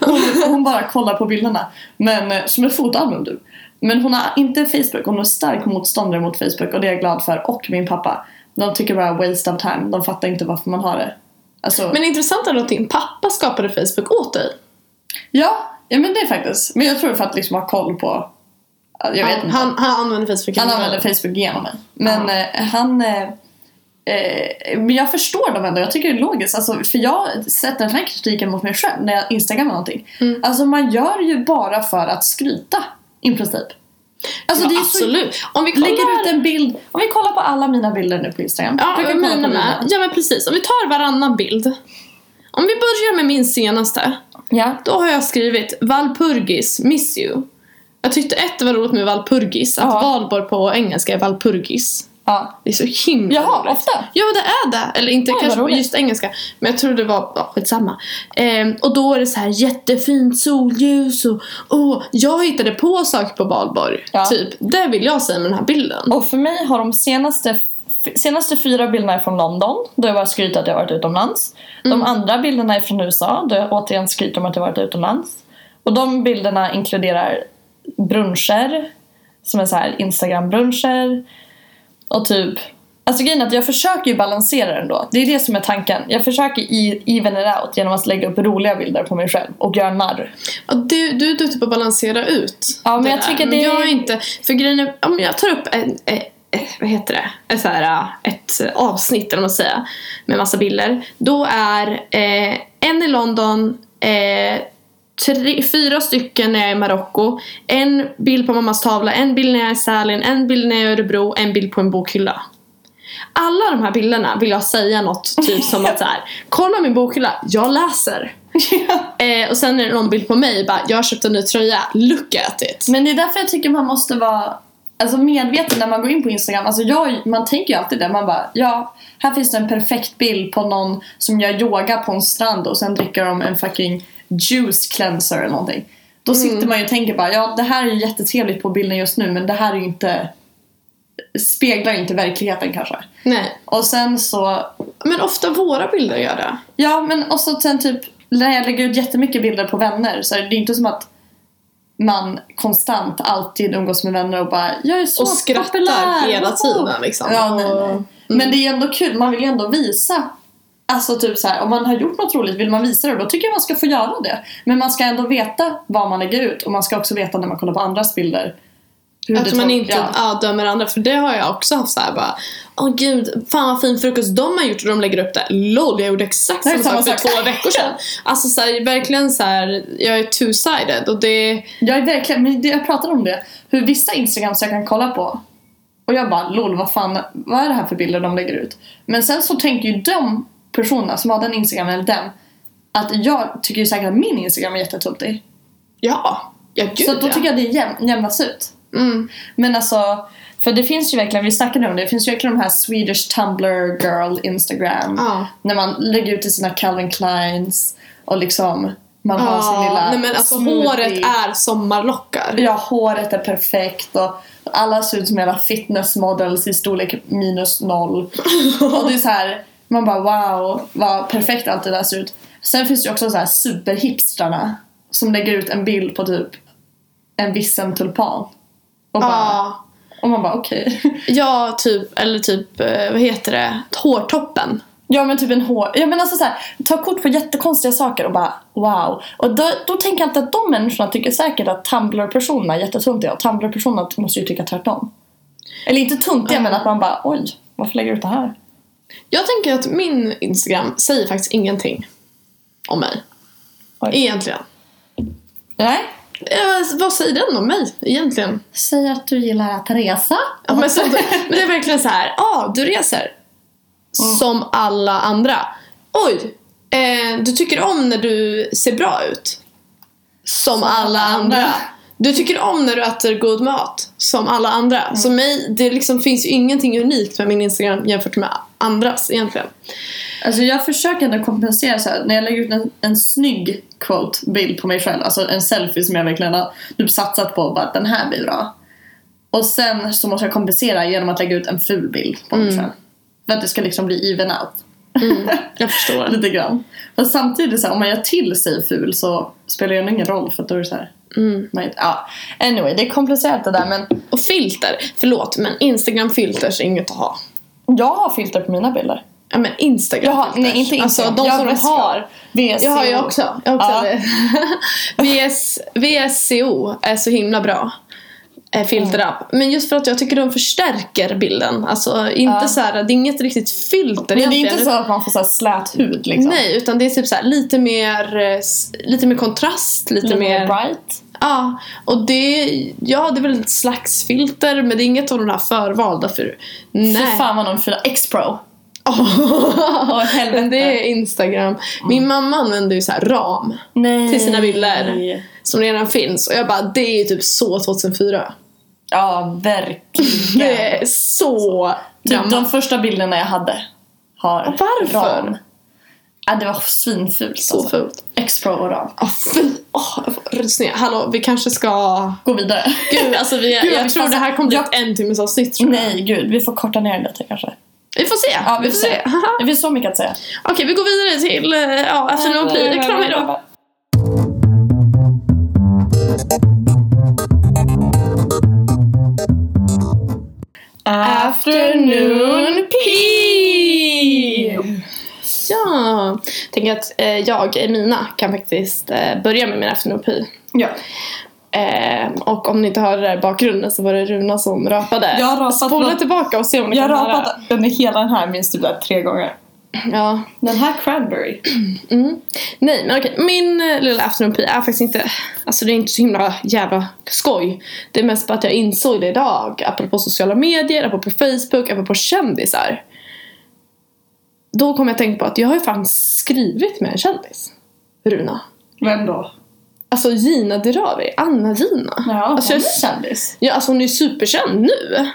S2: hon, hon bara kollar på bilderna. Men, eh, som ett fotoalbum du. Men hon har inte Facebook, hon är stark motståndare mot Facebook och det är jag glad för. Och min pappa. De tycker bara waste of time, de fattar inte varför man har det. Alltså,
S1: Men intressant ändå att din pappa skapade Facebook åt dig.
S2: ja, ja men det är faktiskt. Men jag tror för att liksom ha koll på. Jag vet
S1: Han,
S2: inte.
S1: han, han använder Facebook
S2: Han
S1: inte.
S2: använder Facebook genom mig. Men eh, han... Eh, eh, men jag förstår dem ändå. Jag tycker det är logiskt. Alltså, för jag sätter den här kritiken mot mig själv när jag instagrammar någonting.
S1: Mm.
S2: Alltså man gör ju bara för att skryta i princip. Alltså
S1: ja,
S2: det är så...
S1: absolut. Om vi kollar...
S2: Lägger ut en bild. Om vi kollar på alla mina bilder nu på Instagram.
S1: Ja,
S2: Du kan kolla på
S1: mina med. Ja, men precis. Om vi tar varannan bild. Om vi börjar med min senaste.
S2: Ja.
S1: Då har jag skrivit Valpurgis, miss you. Jag tyckte ett var roligt med Valpurgis, att
S2: Ja.
S1: Valborg på engelska är Valpurgis.
S2: ja.
S1: Det är så himla
S2: Jaha,
S1: roligt.
S2: ofta?
S1: Ja, det är det. Eller inte
S2: Oj, vad
S1: kanske på
S2: roligt.
S1: just engelska. Men jag tror det var, ja, skitsamma. Ehm, och då är det så här jättefint solljus och åh, jag hittade på saker på Valborg.
S2: Ja.
S1: Typ, det vill jag säga med den här bilden.
S2: Och för mig har de senaste, f- senaste fyra bilderna är från London, då jag bara skryter att jag varit utomlands. De andra bilderna är från USA, då jag återigen skryter om att jag varit utomlands. Och de bilderna inkluderar bruncher, som är så här Instagram-bruncher. Och typ, alltså grejen är att jag försöker ju balansera den då. Det är det som är tanken. Jag försöker i- even it out genom att lägga upp roliga bilder på mig själv och göra narr.
S1: Ja, Du, du är duktig på att balansera ut
S2: Ja, men
S1: det
S2: jag
S1: där.
S2: tycker
S1: Men
S2: det-
S1: jag är inte... För grejen är, om jag tar upp en, eh, eh, vad heter det? Ett, så här, eh, ett avsnitt eller vad man säger, med massa bilder. Då är eh, en i London, eh, tre, fyra stycken när jag är i Marocko, en bild på mammas tavla, en bild när jag är i Sälen, en bild när jag är i Örebro, en bild på en bokhylla. Alla de här bilderna vill jag säga något typ som att så här, kolla min bokhylla, jag läser. Eh, och sen är det någon bild på mig, bara jag har köpt en ny tröja, look at it.
S2: Men det är därför jag tycker man måste vara alltså, medveten när man går in på Instagram. Alltså, jag, man tänker ju alltid det. Man bara, ja, här finns det en perfekt bild på någon som gör yoga på en strand och sen dricker de en fucking juice cleanser eller någonting. Då sitter man ju och tänker bara, ja det här är ju jättetrevligt på bilden just nu men det här är ju inte speglar ju inte verkligheten kanske.
S1: Nej.
S2: Och sen så
S1: Men ofta våra bilder gör det.
S2: Ja, men också sen typ när jag lägger ut jättemycket bilder på vänner så är det inte som att man konstant alltid umgås med vänner och bara jag är så
S1: Och skrattar
S2: populär.
S1: hela tiden, liksom.
S2: Ja, nej, nej.
S1: Mm.
S2: Men det är ändå kul, man vill ju ändå visa Alltså typ så här, om man har gjort något roligt vill man visa det då tycker jag man ska få göra det. Men man ska ändå veta vad man lägger ut och man ska också veta när man kollar på andras bilder. hur
S1: Att
S2: det
S1: man
S2: tol-
S1: inte
S2: ja.
S1: ja, dömer andra, för det har jag också haft såhär bara Åh gud, fan vad fin frukost de har gjort och de lägger upp det. LOL, jag gjorde exakt
S2: Det är
S1: samma sak
S2: samma
S1: för
S2: sak.
S1: två veckor sedan. Alltså såhär, verkligen såhär, jag är two-sided och det...
S2: Jag är verkligen, men det- jag pratade om det. Hur vissa Instagrams jag kan kolla på. Och jag bara lol vad fan, vad är det här för bilder de lägger ut? Men sen så tänker ju de personerna som har den Instagramen eller den. Att jag tycker ju säkert att min Instagram är jättetöntig.
S1: Ja, ja gud
S2: Så då
S1: ja.
S2: tycker jag det jäm, jämnas ut.
S1: Mm.
S2: Men alltså, För det finns ju verkligen, vi snackade om det, det finns ju verkligen de här Swedish Tumblr girl Instagram.
S1: Ja.
S2: När man lägger ut i sina Calvin Kleins och liksom man har sin lilla
S1: nej men alltså
S2: smoothie.
S1: håret är sommarlockar.
S2: Ja, håret är perfekt och alla ser ut som jävla fitness models i storlek minus noll. och det är så här, man bara wow, vad perfekt allt det där ser ut. Sen finns det ju också så här superhipstrarna som lägger ut en bild på typ en vissen tulpan. Och, bara,
S1: Ja.
S2: och man bara okej.
S1: Ja, typ, eller typ, eh, vad heter det, hårtoppen.
S2: Ja men typ en hår... Ja men alltså så här, ta kort på jättekonstiga saker och bara wow. Och då, då tänker jag inte att de människorna tycker säkert att Tumblr-personerna är jättetuntiga och Tumblr-personerna måste ju tycka tvärtom. Eller inte tuntiga men att man bara oj, varför lägger du ut det här?
S1: Jag tänker att min Instagram säger faktiskt ingenting om mig.
S2: Oj.
S1: Egentligen.
S2: Nej.
S1: Eh, vad säger den om mig egentligen?
S2: Säg att du gillar att resa.
S1: Ja, Men, så, men det är verkligen så här, ja ah, du reser. Som alla andra. Oj, eh, du tycker om när du ser bra ut. Som alla andra. Du tycker om när du äter god mat. Som alla andra. Så mig, det liksom finns ju ingenting unikt med min Instagram jämfört med andras egentligen.
S2: Alltså jag försöker ändå kompensera så här. när jag lägger ut en, en snygg quote bild på mig själv, alltså en selfie som jag verkligen har typ satsat på och bara den här blir bra. Och sen så måste jag kompensera genom att lägga ut en ful bild på
S1: Mm.
S2: mig själv. För att det ska liksom bli even out.
S1: Jag förstår.
S2: Lite grann. Fast samtidigt så här, om man gör till sig ful så spelar det ändå ingen roll för att då är det så här.
S1: Mm.
S2: Man, ja. Anyway, det är komplicerat det där men
S1: Och filter. Förlåt, men Instagram-filters är inget att ha.
S2: jag har filter på mina bilder.
S1: Ja, men Instagram.
S2: Jag har, nej inte Instagram.
S1: Alltså de
S2: jag
S1: som de
S2: Vespa.
S1: har.
S2: VSCO.
S1: Jag har ju också. Jag har också
S2: Ja.
S1: det. VS, VSCO är så himla bra eh,
S2: Mm.
S1: filterapp. Men just för att jag tycker de förstärker bilden. Alltså inte
S2: Ja.
S1: så här, det är inget riktigt filter
S2: Men det är
S1: egentligen.
S2: inte så att man får så här slät hud liksom.
S1: Nej, utan det är typ så här, lite mer eh, s- lite mer kontrast, lite,
S2: Lite
S1: mer...
S2: mer bright.
S1: Ja, och det, ja, det är väl ett slags filter men det är inget av de här förvalda för...
S2: Fy fan vad någon fyra X-Pro. Åh helvete. Mm.
S1: Men det är Instagram. Min mamma använder ju så här ram
S2: Nej.
S1: till sina bilder. Som redan finns. Och jag bara, det är ju typ så 2004.
S2: Ja, verkligen.
S1: Det är så
S2: typ de
S1: gammalt.
S2: första bilderna jag hade har
S1: varför?
S2: ram. Ja, det var svinfult
S1: Så
S2: alltså.
S1: fult.
S2: X-Pro och ram.
S1: Åh, Ah, fy. Åh, jag får rysningar. Hallå, vi kanske ska...
S2: Gå vidare.
S1: Gud, alltså vi,
S2: Gud,
S1: jag
S2: vi
S1: tror
S2: passar-
S1: det här kommer bli
S2: Jag-
S1: ett en timmes avsnitt tror jag.
S2: Nej, gud. Vi får korta ner lite kanske.
S1: Vi får se.
S2: Ja, vi får se.
S1: Haha.
S2: Det finns så mycket att säga.
S1: Okej, vi går vidare till eh, ja, afternoon och Pia. Kram, hejdå.
S2: Afternoon
S1: pee! Ja, tänker att eh, jag, Emina, kan faktiskt eh, börja med min afternoon pee.
S2: Ja.
S1: Eh, och om ni inte hörde det här i bakgrunden så var det Runa som rapade.
S2: Jag har rapat
S1: Spola
S2: något.
S1: tillbaka och se om ni
S2: Jag har
S1: kan
S2: rapat under hela den här minst typ där tre gånger.
S1: höra. Ja.
S2: Den här cranberry.
S1: Mm. Nej, men okej. Min eh, lilla afternoon pee är faktiskt inte... Alltså det är inte så himla jävla skoj. Det är mest bara att jag insåg det idag. Apropå sociala medier, apropå Facebook, apropå kändisar. Då kom jag att tänka på att jag har ju fan skrivit med en kändis. Runa.
S2: Vem då?
S1: Alltså Gina Dirawi. Anna-Gina.
S2: Ja,
S1: alltså,
S2: hon
S1: jag,
S2: är kändis.
S1: ja, alltså hon är ju superkänd nu.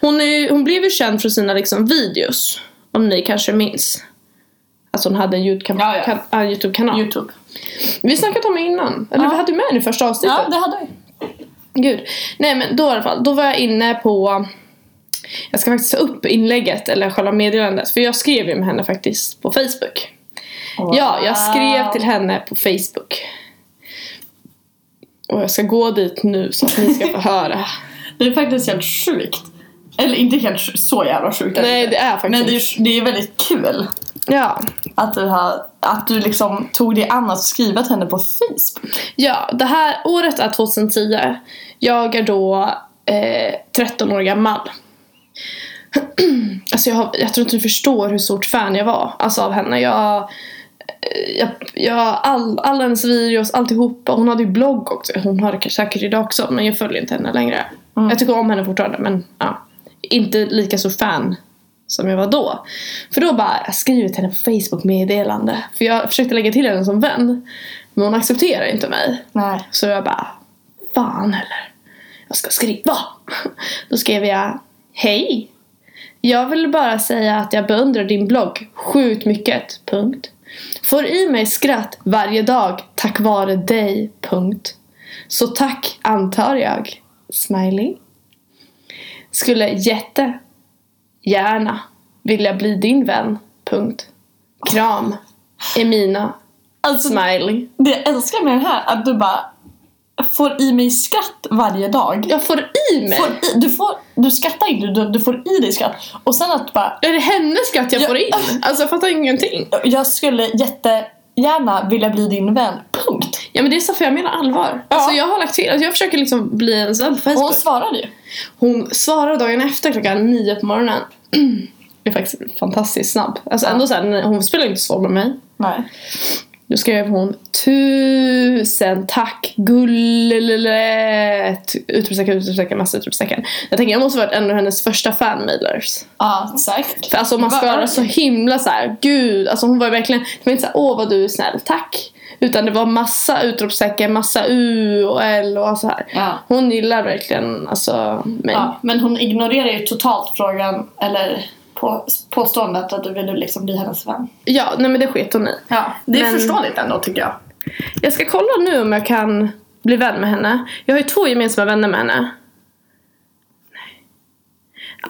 S1: Hon, är, ju- hon blev ju känd för sina liksom, videos. Om ni kanske minns. Alltså hon hade en YouTube-
S2: Ja, ja.
S1: kan- ja, en YouTube-kanal.
S2: Youtube.
S1: Vi snackat om det innan. Eller
S2: Ja.
S1: vi hade ju med den i första avsnittet.
S2: Ja, det hade vi.
S1: Gud. Nej men då i alla fall. Då var jag inne på... um, Jag ska faktiskt ta upp inlägget eller själva meddelandet. För jag skrev ju med henne faktiskt på Facebook. Ja, jag skrev till henne på Facebook. Och jag ska gå dit nu så att ni ska få höra.
S2: Det är faktiskt helt sjukt. Eller inte helt sj- så jävla sjukt. är
S1: Nej
S2: inte.
S1: det är faktiskt...
S2: Men det är, det är väldigt kul
S1: Ja.
S2: att du, har, att du liksom tog dig an att skriva till henne på Facebook.
S1: Ja, det här året är 2010. Jag är då eh, 13 år gammal. alltså jag, har, jag tror inte du förstår hur stort fan jag var alltså av henne. Jag, eh, jag, jag, all, alla hennes videos, alltihopa. Hon hade ju blogg också. Hon har det säkert idag också men jag följer inte henne längre. Jag tycker om henne fortfarande men ja. Inte lika stor fan som jag var då. För då bara, jag skriver till henne på Facebook meddelande. För jag försökte lägga till henne som vän. Men hon accepterar inte mig.
S2: Nej.
S1: Så jag bara, fan heller. vad ska jag skriva? Då skrev jag Hej! Jag vill bara säga att jag beundrar din blogg sjukt mycket. Punkt. Får i mig skratt varje dag tack vare dig. Punkt. Så tack antar jag. Smiley. Skulle jätte gärna vilja bli din vän. Punkt. Kram. Emina.
S2: Alltså,
S1: Smiley.
S2: Det jag älskar med den här att du bara får i mig skratt varje dag.
S1: Jag får i mig.
S2: Får i, du, får, du skrattar inte, du, du får i dig skratt. Och sen att du bara,
S1: Är det hennes skratt jag
S2: Ja.
S1: får in? Alltså jag fattar ingenting.
S2: jag skulle jättegärna vilja bli din vän. Punkt.
S1: Ja men det är så för jag menar allvar.
S2: Ja.
S1: Alltså jag har lagt till, alltså, jag försöker liksom bli en sån på
S2: Och
S1: Facebook.
S2: hon svarade ju.
S1: Hon svarade dagen efter klockan nio på morgonen. Det är faktiskt fantastiskt snabb. Alltså ändå så här, nej, hon spelar inte svår med mig.
S2: Nej.
S1: Då skrev hon tusen tack gullelele utropstecken, utropstecken, massa utropstecken. Jag tänker jag måste varit en av hennes första fanmailers.
S2: Ja, säkert.
S1: För alltså man
S2: Vad-
S1: svarar så himla så här, gud, alltså hon var verkligen, det var inte så här, åh vad du är snäll, tack. Utan det var massa utropstecken, massa u och l och så här.
S2: Ja.
S1: Hon gillar verkligen alltså mig.
S2: Ja, men hon ignorerar ju totalt frågan, eller på, påståendet att du ville liksom bli hennes vän.
S1: Ja, nej men det sket hon i.
S2: Ja, det är
S1: Men-
S2: förståeligt ändå tycker jag.
S1: Jag ska kolla nu om jag kan bli vän med henne. Jag har ju två gemensamma vänner med henne. Nej.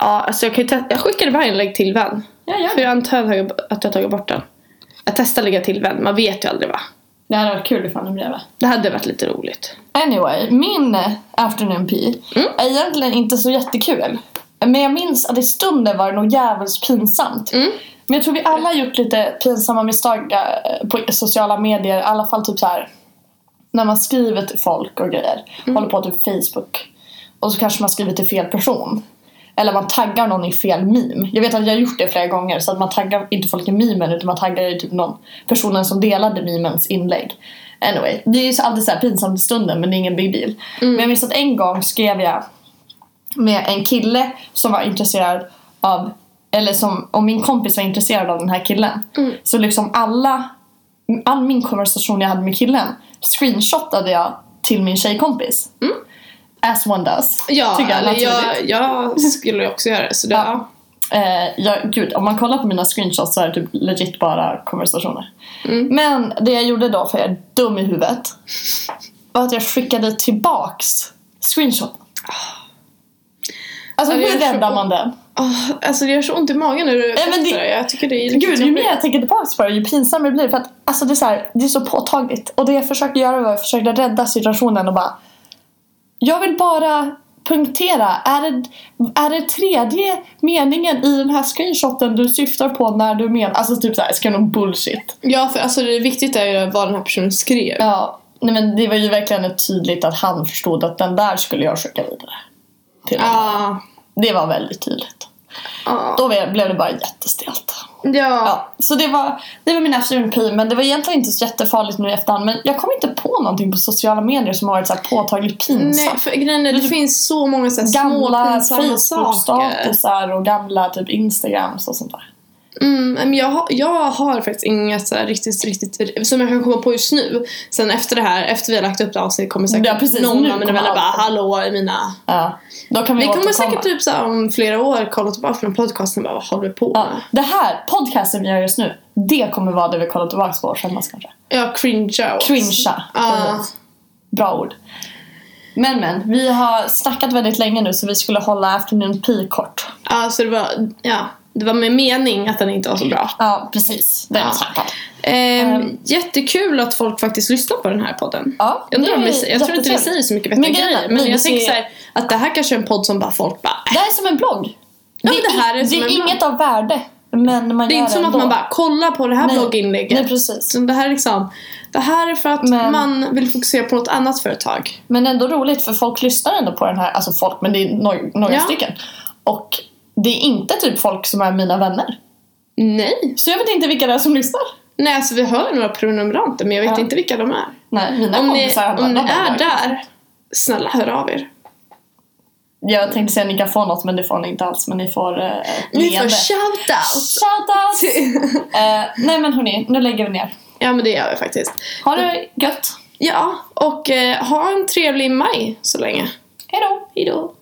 S1: Ja, alltså jag kan ju testa. Jag skickade bara inlägg till vän.
S2: Ja, ja.
S1: För jag antar att jag- att jag har tagit bort den. Jag testar lägga till vän, man vet ju aldrig va.
S2: Det hade varit kul ifall du blev det.
S1: Det hade varit lite roligt.
S2: Anyway, min eh, afternoon pee är egentligen inte så jättekul. Men jag minns att i stunden var det nog jävligt pinsamt.
S1: Mm.
S2: Men jag tror vi alla har gjort lite pinsamma misstag eh, på sociala medier. I alla fall typ så här när man skriver till folk och grejer. Håller på typ Facebook. Och så kanske man skriver till fel person. Eller man taggar någon i fel meme. Jag vet att jag har gjort det flera gånger. Så att man taggar inte folk i memen utan man taggar ju typ någon personen som delade memens inlägg. Anyway, det är ju så- alltid så här pinsamt i stunden men det är ingen big deal.
S1: Mm.
S2: Men jag minns att en gång skrev jag med en kille som var intresserad av, eller som, om min kompis var intresserad av den här killen.
S1: Mm.
S2: Så liksom alla, all min konversation jag hade med killen screenshotade jag till min tjejkompis. As one does.
S1: Mm. Ja,
S2: tycker jag,
S1: eller
S2: naturligt.
S1: jag, jag skulle ju också göra det. Så det,
S2: Ja. Eh, ja, gud, om man kollar på mina screenshots så är det typ legit bara konversationer.
S1: Mm.
S2: Men det jag gjorde då, för jag är dum i huvudet, var att jag skickade tillbaks screenshoten. Alltså
S1: Ja, det
S2: hur
S1: gör så
S2: räddar
S1: ont.
S2: man den?
S1: Åh, alltså det gör så ont i magen när du
S2: Nej, men det-
S1: berättar Jag tycker det är riktigt
S2: Gud, ju mer
S1: jobbigt.
S2: jag tänker tillbaks på det ju pinsammare blir det. För att alltså, det, är så här, det är så påtagligt. Och det jag försökte göra var att jag försökte rädda situationen och bara Jag vill bara punktera. Är det, är det tredje meningen i den här screenshoten du syftar på när du menar Alltså typ såhär, ska någon bullshit.
S1: Ja, för alltså det viktigt är ju vad den här personen skrev.
S2: Ja, nej men det var ju verkligen ett tydligt att han förstod att den där skulle jag skicka vidare. Till honom.
S1: Ja.
S2: Det var väldigt tydligt.
S1: Ja.
S2: Då blev det bara jättestelt.
S1: ah, ja.
S2: Ja, så det var, det var min afternoon pee, men det var egentligen inte så jättefarligt nu i efterhand. Men jag kom inte på någonting på sociala medier som har varit så här påtagligt
S1: Nej,
S2: pinsamt.
S1: för grejen är, det finns så många så här små
S2: Gamla
S1: pinsamma saker.
S2: Facebook-statusar och gamla typ Instagrams och sånt där.
S1: Mm, men jag, har- jag har faktiskt inget så här riktigt, riktigt, som jag kan komma på just nu. Sen efter det här, efter vi har lagt upp det här avsnittet kommer säkert
S2: Ja, precis.
S1: någon
S2: Nu
S1: av mina
S2: kommer
S1: vänner
S2: allt.
S1: bara Hallå Emina.
S2: Ja, då kan vi,
S1: Vi kommer
S2: återkomma.
S1: säkert typ så här, om flera år kolla tillbaka på den podcasten och bara vad håller vi på
S2: Ja,
S1: med?
S2: det här, podcasten vi gör just nu, det kommer vara det vi kollar tillbaka på och skämmas kanske.
S1: Ja, cringear också.
S2: Cringea.
S1: Ja.
S2: Bra ord. Men men, vi har snackat väldigt länge nu så vi skulle hålla afternoon pee kort.
S1: Ja, så det var, ja, det var med mening att den inte var så bra.
S2: Ja, precis. Den
S1: Ja.
S2: snackad.
S1: Ehm,
S2: Ehm.
S1: jättekul att folk faktiskt lyssnar på den här podden.
S2: Ja,
S1: jag undrar
S2: det
S1: om
S2: är
S1: vi, jag tror inte vi
S2: jättetrevligt.
S1: säger så mycket vettiga
S2: Men grejen är
S1: grejer.
S2: att
S1: Men
S2: vi
S1: jag tänker
S2: ser-
S1: så här, att det här kanske är en podd som bara folk bara "Äh,
S2: Det här är som en blogg.
S1: Ja, men det här är som
S2: det
S1: en blogg.
S2: inget av värde. Men man
S1: Det är
S2: gör
S1: inte som att
S2: ändå.
S1: man bara "Ah, kollar på det här
S2: Nej.
S1: blogginlägget.
S2: Nej, precis.
S1: Så det här är liksom, det här är för att
S2: Men-
S1: man vill fokusera på något annat företag.
S2: Men ändå roligt för folk lyssnar ändå på den här. Alltså folk, men det är några, några
S1: Ja.
S2: stycken. Och det är inte typ folk som är mina vänner.
S1: Nej.
S2: Så jag vet inte vilka det är som lyssnar.
S1: Nej, alltså vi har ju några prenumeranter men jag vet
S2: Ja.
S1: inte vilka de är.
S2: Nej, mina
S1: Om ni,
S2: kompisar har bara,
S1: om ni
S2: "Vad
S1: är
S2: var det?"
S1: där, snälla hör av er.
S2: Jag tänkte säga att ni kan få något men det får ni inte alls. Men ni får eh, ett
S1: Ni får
S2: leende.
S1: shoutout!
S2: Shoutout! eh, nej men hörni, nu lägger vi ner.
S1: ja men det gör vi faktiskt.
S2: Ha det gött!
S1: Ja, och eh, ha en trevlig maj så länge.
S2: Hejdå!
S1: Hejdå!